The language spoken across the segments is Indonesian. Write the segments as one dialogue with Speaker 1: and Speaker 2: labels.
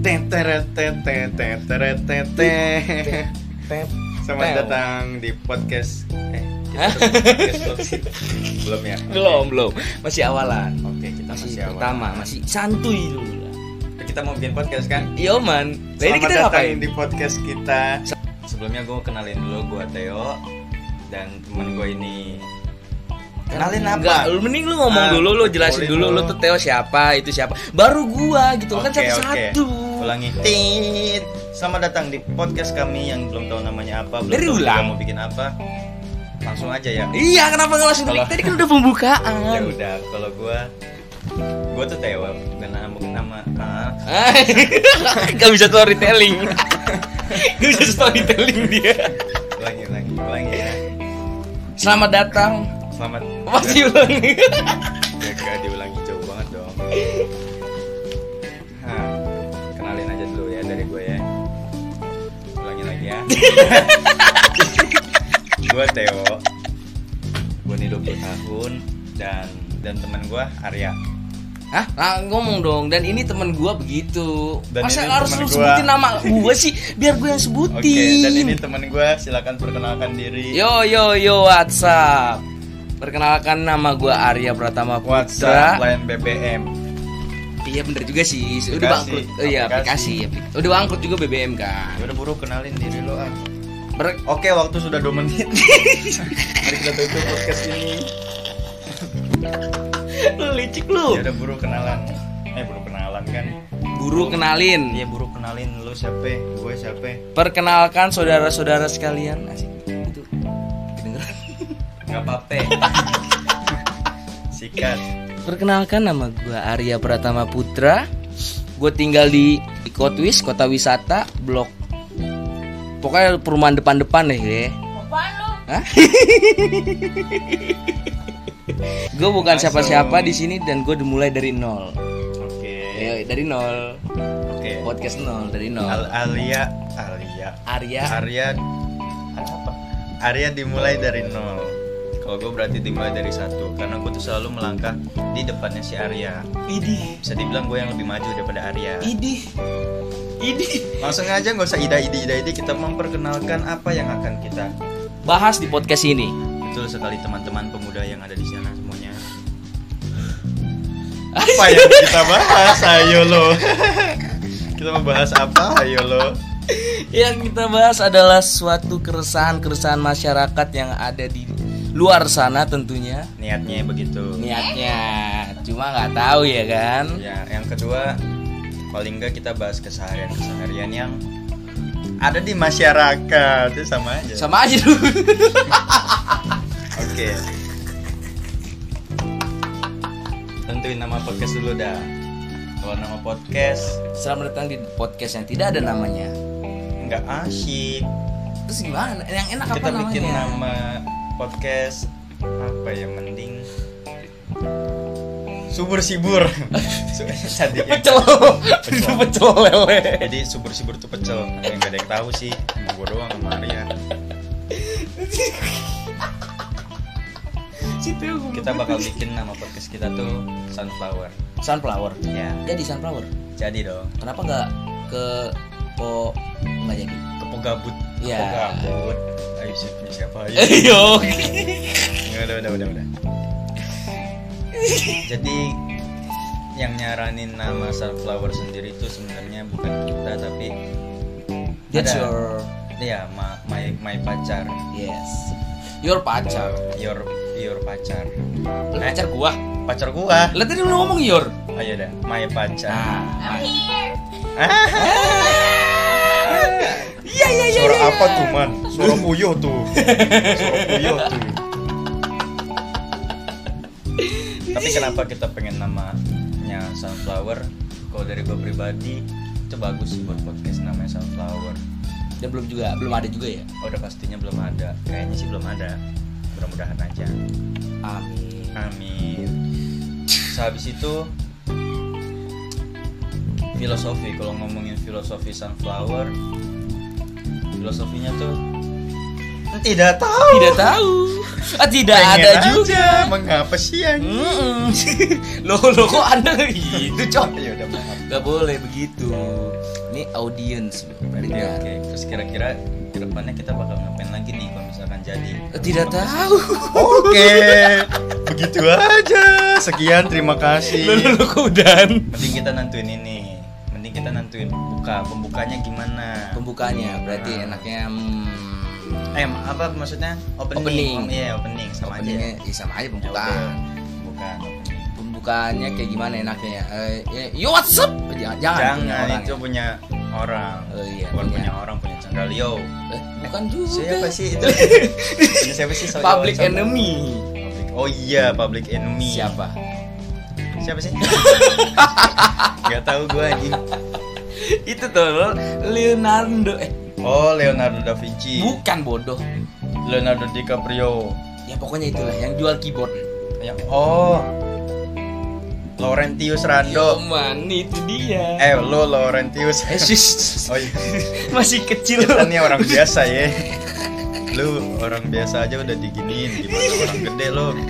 Speaker 1: Teret, teret, teret, teret, teret.
Speaker 2: Tep.
Speaker 1: Selamat
Speaker 2: Teo.
Speaker 1: datang di podcast eh kita
Speaker 2: Hah?
Speaker 1: podcast belum sih? Belum ya?
Speaker 2: Belum, belum. Masih awalan.
Speaker 1: Oke, kita
Speaker 2: Masih,
Speaker 1: masih, awal.
Speaker 2: pertama, masih santuy dulu. lah.
Speaker 1: Kita mau bikin podcast kan?
Speaker 2: Iya, man. Lah, ini
Speaker 1: Selamat
Speaker 2: kita
Speaker 1: datang
Speaker 2: ngapain?
Speaker 1: di podcast kita. Sebelumnya gue kenalin dulu gue Theo dan teman gue ini. Kenalin apa?
Speaker 2: Enggak, lu mending lu ngomong
Speaker 1: Ah,
Speaker 2: dulu, lu jelasin
Speaker 1: boleh
Speaker 2: dulu lu
Speaker 1: dong.
Speaker 2: tuh Theo siapa, itu siapa. Baru gua gitu
Speaker 1: Oke,
Speaker 2: kan satu-satu.
Speaker 1: oke. Ulangi. Tit. Selamat datang di podcast kami yang belum tahu namanya apa, belum
Speaker 2: Dari
Speaker 1: tahu
Speaker 2: ulang.
Speaker 1: juga mau bikin apa. Langsung aja ya.
Speaker 2: Iya, kenapa nggak langsung
Speaker 1: Kalau-
Speaker 2: klik? Tadi kan udah pembukaan.
Speaker 1: Ya udah, kalau gue gue tuh Theo dan nama nama ah,
Speaker 2: Gak bisa storytelling. Gak bisa storytelling dia.
Speaker 1: ulangi ulangi ulangi ya.
Speaker 2: Selamat datang.
Speaker 1: Selamat
Speaker 2: Masih ulangi.
Speaker 1: Ya gak diulangi jauh banget dong Hah, Kenalin aja dulu ya dari gue ya Ulangi lagi ya Gue Theo Gue nih 20 tahun Dan dan teman gue Arya
Speaker 2: Hah? Lah, ngomong dong. Dan ini teman gua begitu.
Speaker 1: Dan
Speaker 2: Masa
Speaker 1: ini
Speaker 2: harus
Speaker 1: temen
Speaker 2: lu
Speaker 1: gua.
Speaker 2: sebutin nama gua sih? Biar gua yang sebutin.
Speaker 1: Oke dan ini teman gue silakan perkenalkan diri
Speaker 2: Yo yo yo WhatsApp. Perkenalkan nama gua Arya Pratama
Speaker 1: WhatsApp
Speaker 2: Putra.
Speaker 1: lain BBM
Speaker 2: Iya bener juga sih. Udah
Speaker 1: Aplikasi,
Speaker 2: bangkrut. Oh, iya
Speaker 1: aplikasi.
Speaker 2: aplikasi. aplikasi. Udah bangkrut juga BBM kan.
Speaker 1: Ya udah buru kenalin diri lo ah
Speaker 2: Ber-
Speaker 1: Oke waktu sudah 2 menit Mari kita tutup podcast ini
Speaker 2: lu licik
Speaker 1: Ya
Speaker 2: lu.
Speaker 1: udah buru kenalan Eh buru kenalan kan
Speaker 2: Buru kenalin.
Speaker 1: Iya buru kenalin lu siapa, gue siapa
Speaker 2: Perkenalkan saudara-saudara sekalian. Asik. Itu. Kedengeran.
Speaker 1: Gak apa-apa Sikat
Speaker 2: Perkenalkan nama gua Arya Pratama Putra. Gue tinggal di, di Kotwis, Kota Wisata, Blok. Pokoknya perumahan depan-depan deh. ya.
Speaker 3: Apaan lu?
Speaker 2: Gue bukan siapa-siapa di sini dan gue dimulai dari nol.
Speaker 1: Oke
Speaker 2: Ayo, dari nol.
Speaker 1: Oke
Speaker 2: Podcast nol dari
Speaker 1: Al
Speaker 2: nol.
Speaker 1: Alia Alia
Speaker 2: Arya.
Speaker 1: Arya apa? Arya dimulai dari nol Kalau gue berarti dimulai dari satu Karena gue tuh selalu melangkah di depannya si Arya
Speaker 2: Idih.
Speaker 1: Bisa dibilang gue yang lebih maju daripada Arya
Speaker 2: Idih. Idih.
Speaker 1: Langsung aja nggak usah ida ida ida ida Kita memperkenalkan apa yang akan kita
Speaker 2: Bahas di podcast ini.
Speaker 1: Betul sekali teman-teman pemuda yang ada di sana semuanya. Apa yang kita bahas? Ayo lo. kita membahas apa? Ayo lo.
Speaker 2: Yang kita bahas adalah suatu keresahan-keresahan masyarakat yang ada di luar sana tentunya.
Speaker 1: Niatnya begitu.
Speaker 2: niatnya cuma nggak tahu ya kan
Speaker 1: Ya, yang kedua paling enggak kita bahas keseharian-keseharian yang ada di masyarakat itu sama aja.
Speaker 2: sama aja dulu
Speaker 1: Oke. Tentuin nama podcast dulu dah. Kalau nama podcast
Speaker 2: selamat datang di podcast yang tidak ada namanya
Speaker 1: nggak asyik.
Speaker 2: terus gimana yang enak apa
Speaker 1: kita bikin
Speaker 2: namanya
Speaker 1: nama podcast apa ya mending subur sibur Su- cantik ya.
Speaker 2: pecel itu pecel lele
Speaker 1: jadi subur sibur tuh pecel yang gak ada yang tahu sih Emang gua doang sama Arya
Speaker 2: situ
Speaker 1: kita bakal bikin nama podcast kita tuh sunflower
Speaker 2: sunflower
Speaker 1: ya
Speaker 2: jadi sunflower
Speaker 1: jadi dong
Speaker 2: kenapa nggak ke po nggak jadi
Speaker 1: kepogabut
Speaker 2: Ya.
Speaker 1: kepogabut ayo sih punya siapa ayo
Speaker 2: ayo
Speaker 1: Ya, udah udah udah udah jadi yang nyaranin nama sunflower sendiri itu sebenarnya bukan kita tapi
Speaker 2: that's
Speaker 1: Ada.
Speaker 2: your
Speaker 1: Ya, ma- my, my pacar,
Speaker 2: yes your pacar
Speaker 1: your your pacar,
Speaker 2: Lu pacar gua
Speaker 1: pacar gua.
Speaker 2: lah tadi lu ngomong your
Speaker 1: Ayo dah, my pacar.
Speaker 2: nah
Speaker 3: I'm here.
Speaker 2: iya iya iya
Speaker 1: Suara apa tuh man? Suara puyuh tuh. Suara puyuh tuh. Tapi kenapa kita pengen namanya sunflower? Kalau dari gue pribadi itu bagus sih buat podcast namanya sunflower.
Speaker 2: dan belum juga belum ada juga ya
Speaker 1: Oh, udah pastinya belum ada. Kayaknya sih belum ada. Mudah-mudahan aja.
Speaker 2: amin
Speaker 1: Amin. Sehabis itu filosofi kalau ngomongin filosofi sunflower filosofinya tuh tidak tahu
Speaker 2: tidak tahu ah, tidak
Speaker 1: Pengen
Speaker 2: ada
Speaker 1: aja,
Speaker 2: juga
Speaker 1: mengapa sih yang
Speaker 2: Mm-mm. loh loh kok anda gitu cok
Speaker 1: ya udah maaf
Speaker 2: Gak boleh begitu. Ini audience
Speaker 1: Oke,
Speaker 2: pendengar.
Speaker 1: oke. terus kira-kira kedepannya kita bakal ngapain lagi nih kalau misalkan jadi?
Speaker 2: Eh, Tidak tahu.
Speaker 1: Oke, begitu aja. Sekian, terima kasih.
Speaker 2: keudan.
Speaker 1: Mending kita nentuin ini. Mending kita nentuin buka pembukanya gimana?
Speaker 2: Pembukaannya berarti enaknya hmm,
Speaker 1: eh, ma- apa maksudnya opening?
Speaker 2: Opening.
Speaker 1: Oh, Iya, opening sama
Speaker 2: openingnya
Speaker 1: aja.
Speaker 2: ya sama
Speaker 1: Ya,
Speaker 2: aja pembukaan.
Speaker 1: udah. Pembukaan opening.
Speaker 2: Pembukaannya kayak gimana enaknya ya? Eh, ya, yo what's up? Jangan, jangan,
Speaker 1: Jangan,
Speaker 2: punya orang
Speaker 1: itu
Speaker 2: ya.
Speaker 1: punya orang.
Speaker 2: Oh, iya,
Speaker 1: Bukan
Speaker 2: punya.
Speaker 1: punya. orang, punya Chandra Leo.
Speaker 2: Eh, bukan juga.
Speaker 1: Siapa sih itu? Punya siapa sih? Soal-
Speaker 2: Public
Speaker 1: soal-
Speaker 2: enemy.
Speaker 1: Public- Oh iya, Public Enemy.
Speaker 2: Siapa?
Speaker 1: Siapa sih? Gak tahu gue anjing.
Speaker 2: itu tuh lo- Leonardo. Eh,
Speaker 1: Oh, Leonardo da Vinci.
Speaker 2: bukan bodoh.
Speaker 1: Leonardo DiCaprio.
Speaker 2: Ya pokoknya itulah yang jual keyboard.
Speaker 1: Ya, oh. Laurentius Rando.
Speaker 2: Cuman itu dia.
Speaker 1: Eh, lo Laurentius.
Speaker 2: Iya. Eh, sis.
Speaker 1: Oh iya.
Speaker 2: masih kecil.
Speaker 1: Kita nih orang biasa ya. Lu orang biasa aja udah diginiin gimana orang gede lo.
Speaker 2: Gak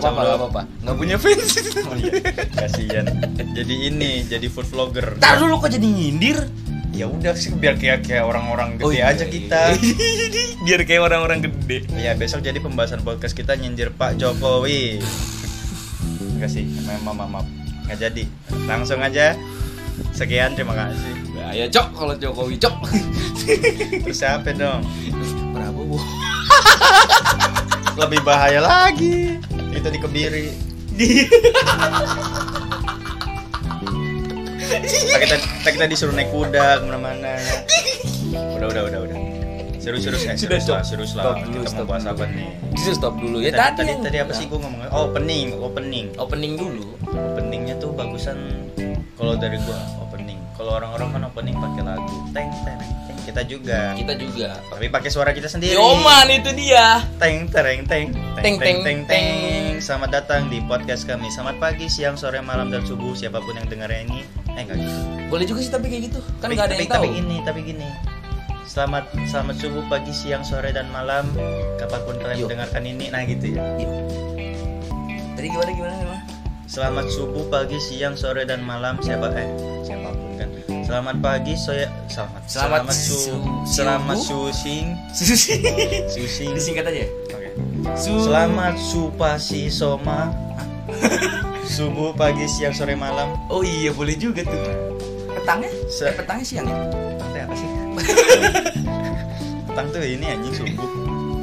Speaker 1: Kacau
Speaker 2: apa-apa,
Speaker 1: lo.
Speaker 2: gak apa-apa. Gak punya fans.
Speaker 1: Oh iya, kasihan. Jadi ini, jadi food vlogger.
Speaker 2: Ntar dulu kok jadi nyindir.
Speaker 1: Ya udah sih biar kayak kayak orang-orang
Speaker 2: Oh,
Speaker 1: gede
Speaker 2: iya,
Speaker 1: aja kita.
Speaker 2: Biar kayak orang-orang gede.
Speaker 1: Iya besok jadi pembahasan podcast kita nyindir Pak Jokowi. Enggak sih, memang maaf, maaf. Nggak jadi. Langsung aja. Sekian terima kasih.
Speaker 2: Ayo Nah, ya, cok kalau Jokowi cok.
Speaker 1: Terus siapa dong?
Speaker 2: Prabowo.
Speaker 1: Lebih bahaya lagi. Itu dikebiri. Ntar kita, ntar kita disuruh naik kuda kemana-mana. Udah udah udah udah. Serius-serius eh,
Speaker 2: Sudah,
Speaker 1: serius
Speaker 2: stop.
Speaker 1: lah, serius
Speaker 2: Stop
Speaker 1: lah.
Speaker 2: dulu,
Speaker 1: Kita
Speaker 2: stop
Speaker 1: mau bahas
Speaker 2: dulu.
Speaker 1: apa nih?
Speaker 2: Justru stop dulu ya
Speaker 1: Tadi,
Speaker 2: tadi.
Speaker 1: tadi,
Speaker 2: yang-
Speaker 1: tadi apa sih gue ngomongin? Oh, opening, opening.
Speaker 2: Opening dulu.
Speaker 1: openingnya tuh bagusan kalau dari gua opening kalau orang-orang kan opening pakai lagu teng teng teng kita juga
Speaker 2: Kita juga.
Speaker 1: tapi pakai suara kita sendiri
Speaker 2: Yoman itu dia.
Speaker 1: teng tereng teng
Speaker 2: Ya,
Speaker 1: teng
Speaker 2: Teng, teng,
Speaker 1: teng teng teng selamat datang di podcast kami selamat pagi siang sore malam dan subuh siapapun yang dengarnya ini eh enggak gitu
Speaker 2: Boleh juga sih tapi kayak gitu. Kan
Speaker 1: tapi,
Speaker 2: nggak ada
Speaker 1: tapi,
Speaker 2: yang tahu.
Speaker 1: tapi gini tapi gini selamat selamat subuh pagi siang sore dan malam kapanpun
Speaker 2: Yuk.
Speaker 1: kalian mendengarkan ini nah gitu ya
Speaker 2: Tadi gimana gimana gimana?
Speaker 1: Selamat subuh, pagi, siang, sore, dan malam. Siapa eh siapapun kan. Selamat pagi, saya selamat
Speaker 2: Selamat
Speaker 1: su,
Speaker 2: su-
Speaker 1: selamat
Speaker 2: subuh.
Speaker 1: susing
Speaker 2: Susi.
Speaker 1: susing.
Speaker 2: Disingkat Oh, aja. ya?
Speaker 1: Oke.
Speaker 2: Su.
Speaker 1: Selamat supasi soma. subuh, pagi, siang, sore, malam.
Speaker 2: Oh iya boleh juga tuh. Petangnya?
Speaker 1: Se-
Speaker 2: eh, petangnya siang ya?
Speaker 1: Teh apa sih? Petang tuh ini anjing subuh.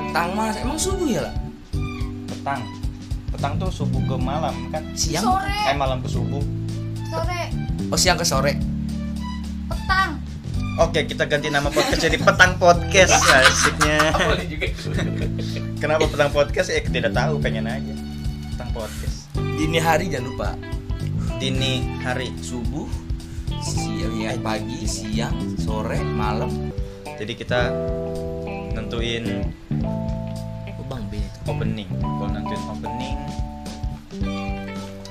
Speaker 2: Petang mas emang subuh ya lah?
Speaker 1: Petang. Petang tuh subuh ke malam kan.
Speaker 2: Siang?
Speaker 3: sore
Speaker 1: Eh malam ke subuh.
Speaker 3: sore
Speaker 2: Oh siang ke sore.
Speaker 3: petang
Speaker 1: Oke, kita ganti nama podcast jadi Petang Podcast asiknya.
Speaker 2: boleh juga.
Speaker 1: Kenapa petang podcast? Eh tidak tahu, pengen aja petang podcast.
Speaker 2: Dini hari jangan lupa.
Speaker 1: Dini hari.
Speaker 2: Subuh, siang, ya, pagi, siang, sore, malam.
Speaker 1: Jadi kita nentuin
Speaker 2: Oh, bang B itu.
Speaker 1: opening. Kalau nentuin opening,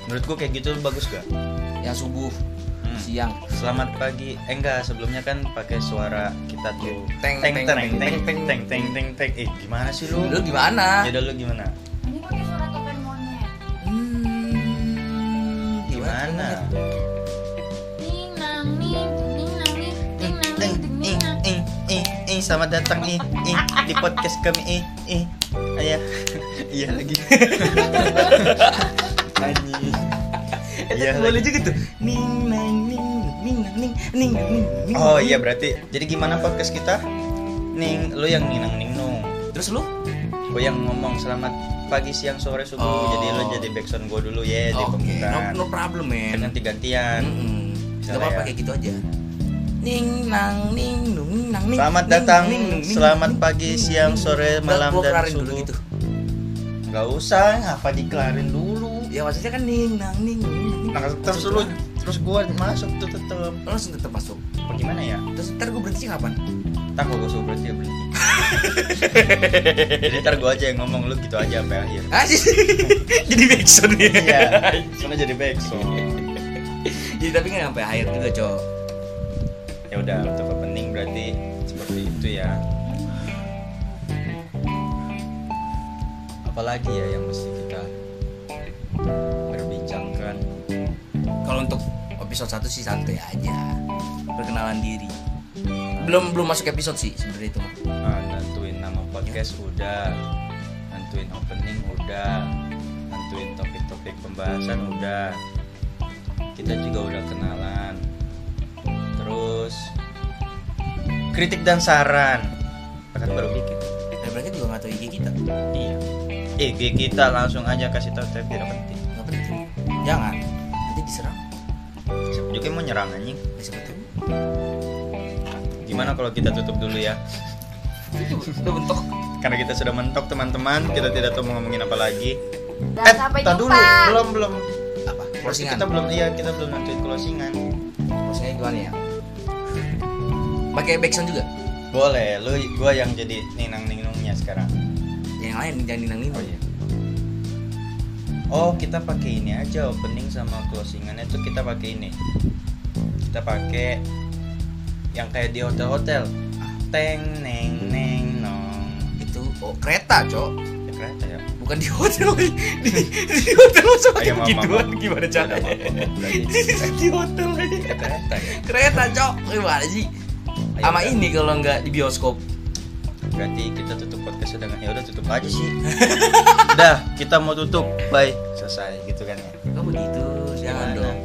Speaker 1: menurut gua kayak gitu bagus gak?
Speaker 2: Yang Ya, subuh,
Speaker 1: Hmm.
Speaker 2: siang.
Speaker 1: Selamat pagi. Eh enggak, sebelumnya kan pakai suara kita tuh.
Speaker 2: Teng, teng,
Speaker 1: teng teng
Speaker 2: teng,
Speaker 1: teng teng teng teng teng teng. Eh gimana sih lu?
Speaker 2: Lu gimana?
Speaker 1: Jadi lu gimana?
Speaker 3: ini pakai suara topeng monyet
Speaker 2: Hmm,
Speaker 1: Gimana?
Speaker 3: ning nang ning ning nang ning ning nang
Speaker 1: Ing, ing,
Speaker 3: ning ning nang
Speaker 1: ing, ing, ing. selamat datang ing, ing, di podcast kami ing, ing. Ayah. Iya lagi. Anjing.
Speaker 2: Eh,
Speaker 1: Iya
Speaker 2: tapi
Speaker 1: lagi.
Speaker 2: boleh juga tuh. Ning nang ning ning nang, ning ning nang, ning. ning,
Speaker 1: Oh
Speaker 2: ning.
Speaker 1: iya berarti. Jadi gimana podcast kita? Ning, lu yang ninang ningnung.
Speaker 2: Terus lu?
Speaker 1: Gue yang ngomong selamat pagi, siang, sore, subuh.
Speaker 2: Oh.
Speaker 1: Jadi lu jadi backsound gue dulu ya di
Speaker 2: No,
Speaker 1: pembukaan.
Speaker 2: no problem
Speaker 1: Dengan
Speaker 2: men.
Speaker 1: gantian.
Speaker 2: Mm-mm. Gak
Speaker 1: Salah
Speaker 2: apa-apa
Speaker 1: ya.
Speaker 2: kayak gitu aja. Ning nang ning nung ning, nang ning.
Speaker 1: Selamat
Speaker 2: ning,
Speaker 1: datang,
Speaker 2: ning, nung, ning,
Speaker 1: selamat
Speaker 2: ning,
Speaker 1: pagi,
Speaker 2: ning,
Speaker 1: siang,
Speaker 2: ning.
Speaker 1: sore,
Speaker 2: Ntar
Speaker 1: malam,
Speaker 2: gua
Speaker 1: dan
Speaker 2: kelarin dulu
Speaker 1: subuh.
Speaker 2: gitu.
Speaker 1: Gak usah, apa dikelarin dulu.
Speaker 2: Ya maksudnya kan ning nang ning nung, ning, ning.
Speaker 1: Nah, terus lu terus gua masuk tuh tetep
Speaker 2: Lu langsung tetap masuk.
Speaker 1: apa gimana ya
Speaker 2: Terus ntar gue berhenti kapan?
Speaker 1: tak gua suruh berhenti ya berhenti jadi ntar gua aja yang ngomong lu gitu aja sampai akhir
Speaker 2: Ah, sih. Jadi backsound ya.
Speaker 1: iya soalnya jadi back so
Speaker 2: Jadi tapi nggak sampai akhir juga, Cok.
Speaker 1: ya udah untuk opening berarti seperti itu ya apalagi ya yang mesti kita berbincangkan
Speaker 2: Kalau untuk episode 1 sih santai aja perkenalan diri belum belum masuk episode sih sebenarnya itu mah
Speaker 1: Ah, nentuin nama podcast udah nentuin opening udah nentuin topik-topik pembahasan udah kita juga udah kenalan terus kritik dan saran akan baru bikin
Speaker 2: dan mereka juga nggak tahu IG kita
Speaker 1: iya IG kita langsung aja kasih tahu tapi tidak penting
Speaker 2: nggak penting jangan nanti diserang
Speaker 1: Siapa juga yang mau nyerang anjing
Speaker 2: bisa betul
Speaker 1: gimana kalau kita tutup dulu ya
Speaker 2: itu bentuk
Speaker 1: karena kita sudah mentok teman-teman kita tidak tahu mau ngomongin apa lagi
Speaker 3: Dan sampai
Speaker 1: tar dulu
Speaker 3: jumpa.
Speaker 1: belum belum
Speaker 2: apa
Speaker 1: Pasti
Speaker 2: closingan
Speaker 1: kita belum iya kita belum nanti closingan
Speaker 2: closingan gimana ya pakai backsound juga
Speaker 1: boleh lu gua yang jadi ninang ninungnya sekarang
Speaker 2: yang lain jangan ninang ninang
Speaker 1: iya. oh kita pakai ini aja opening sama closingannya tuh kita pakai ini kita pakai yang kayak di hotel hotel teng neng neng nong
Speaker 2: itu oh kereta cok
Speaker 1: ya kereta ya
Speaker 2: bukan di hotel di, di, di hotel lo
Speaker 1: Ayo,
Speaker 2: sama kayak
Speaker 1: mama,
Speaker 2: begituan
Speaker 1: mama.
Speaker 2: gimana caranya
Speaker 1: Ada mama, mama.
Speaker 2: di hotel aja
Speaker 1: kereta ya
Speaker 2: kereta cok gimana sih
Speaker 1: Ayo,
Speaker 2: sama
Speaker 1: udah.
Speaker 2: ini kalau nggak di bioskop
Speaker 1: berarti kita tutup podcast dengan ya udah tutup aja sih udah kita mau tutup bye selesai gitu kan ya
Speaker 2: nggak begitu jangan
Speaker 1: Gimana?
Speaker 2: dong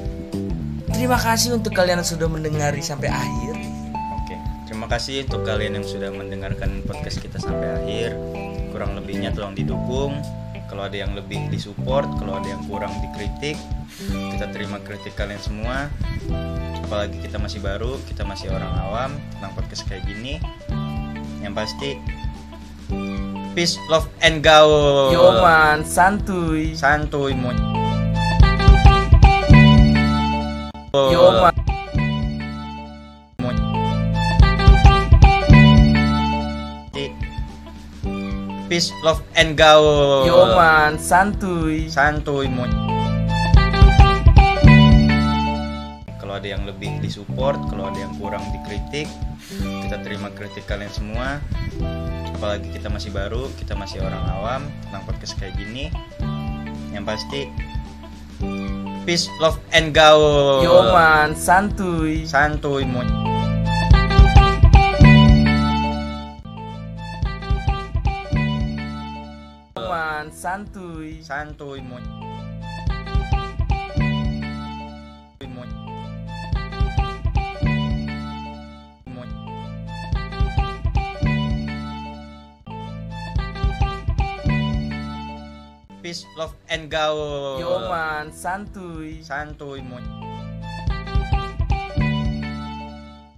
Speaker 2: terima kasih untuk kalian yang sudah mendengari sampai akhir
Speaker 1: Oke, terima kasih untuk kalian yang sudah mendengarkan podcast kita sampai akhir. Kurang lebihnya tolong didukung. Kalau ada yang lebih disupport, kalau ada yang kurang dikritik, kita terima kritik kalian semua. Apalagi kita masih baru, kita masih orang awam tentang podcast kayak gini. Yang pasti peace, love and
Speaker 2: Oh.
Speaker 1: gaul.
Speaker 2: Yoman santuy
Speaker 1: Santuy mo. Mo-
Speaker 2: Yoman
Speaker 1: Peace, love, and
Speaker 2: Oh.
Speaker 1: gaul.
Speaker 2: Yoman santuy
Speaker 1: Santuy mo. Kalau ada yang lebih disupport, kalau ada yang kurang dikritik, kita terima kritik kalian semua. Apalagi kita masih baru, kita masih orang awam tentang podcast kayak gini. Yang pasti peace, love, and
Speaker 2: Oh.
Speaker 1: gaul.
Speaker 2: Yoman santuy
Speaker 1: Santuy mo.
Speaker 2: Yoman santuy
Speaker 1: Santuy mo. Santuy mo. Mo. Peace, love, and
Speaker 2: Oh.
Speaker 1: gaul.
Speaker 2: Yoman santuy
Speaker 1: Santuy mo.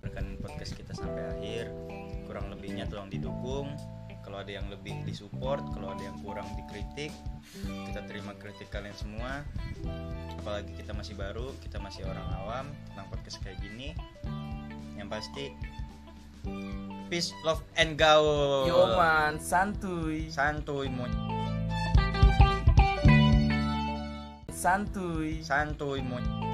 Speaker 1: Rekan podcast kita sampai akhir. Kurang lebihnya tolong didukung. Kalau ada yang lebih disupport, kalau ada yang kurang dikritik, kita terima kritik kalian semua. Apalagi kita masih baru, kita masih orang awam tentang podcast kayak gini. Yang pasti peace, love, and
Speaker 2: Oh.
Speaker 1: gaul.
Speaker 2: Yoman santuy
Speaker 1: Santuy mo.
Speaker 2: santuy
Speaker 1: Santuy mo.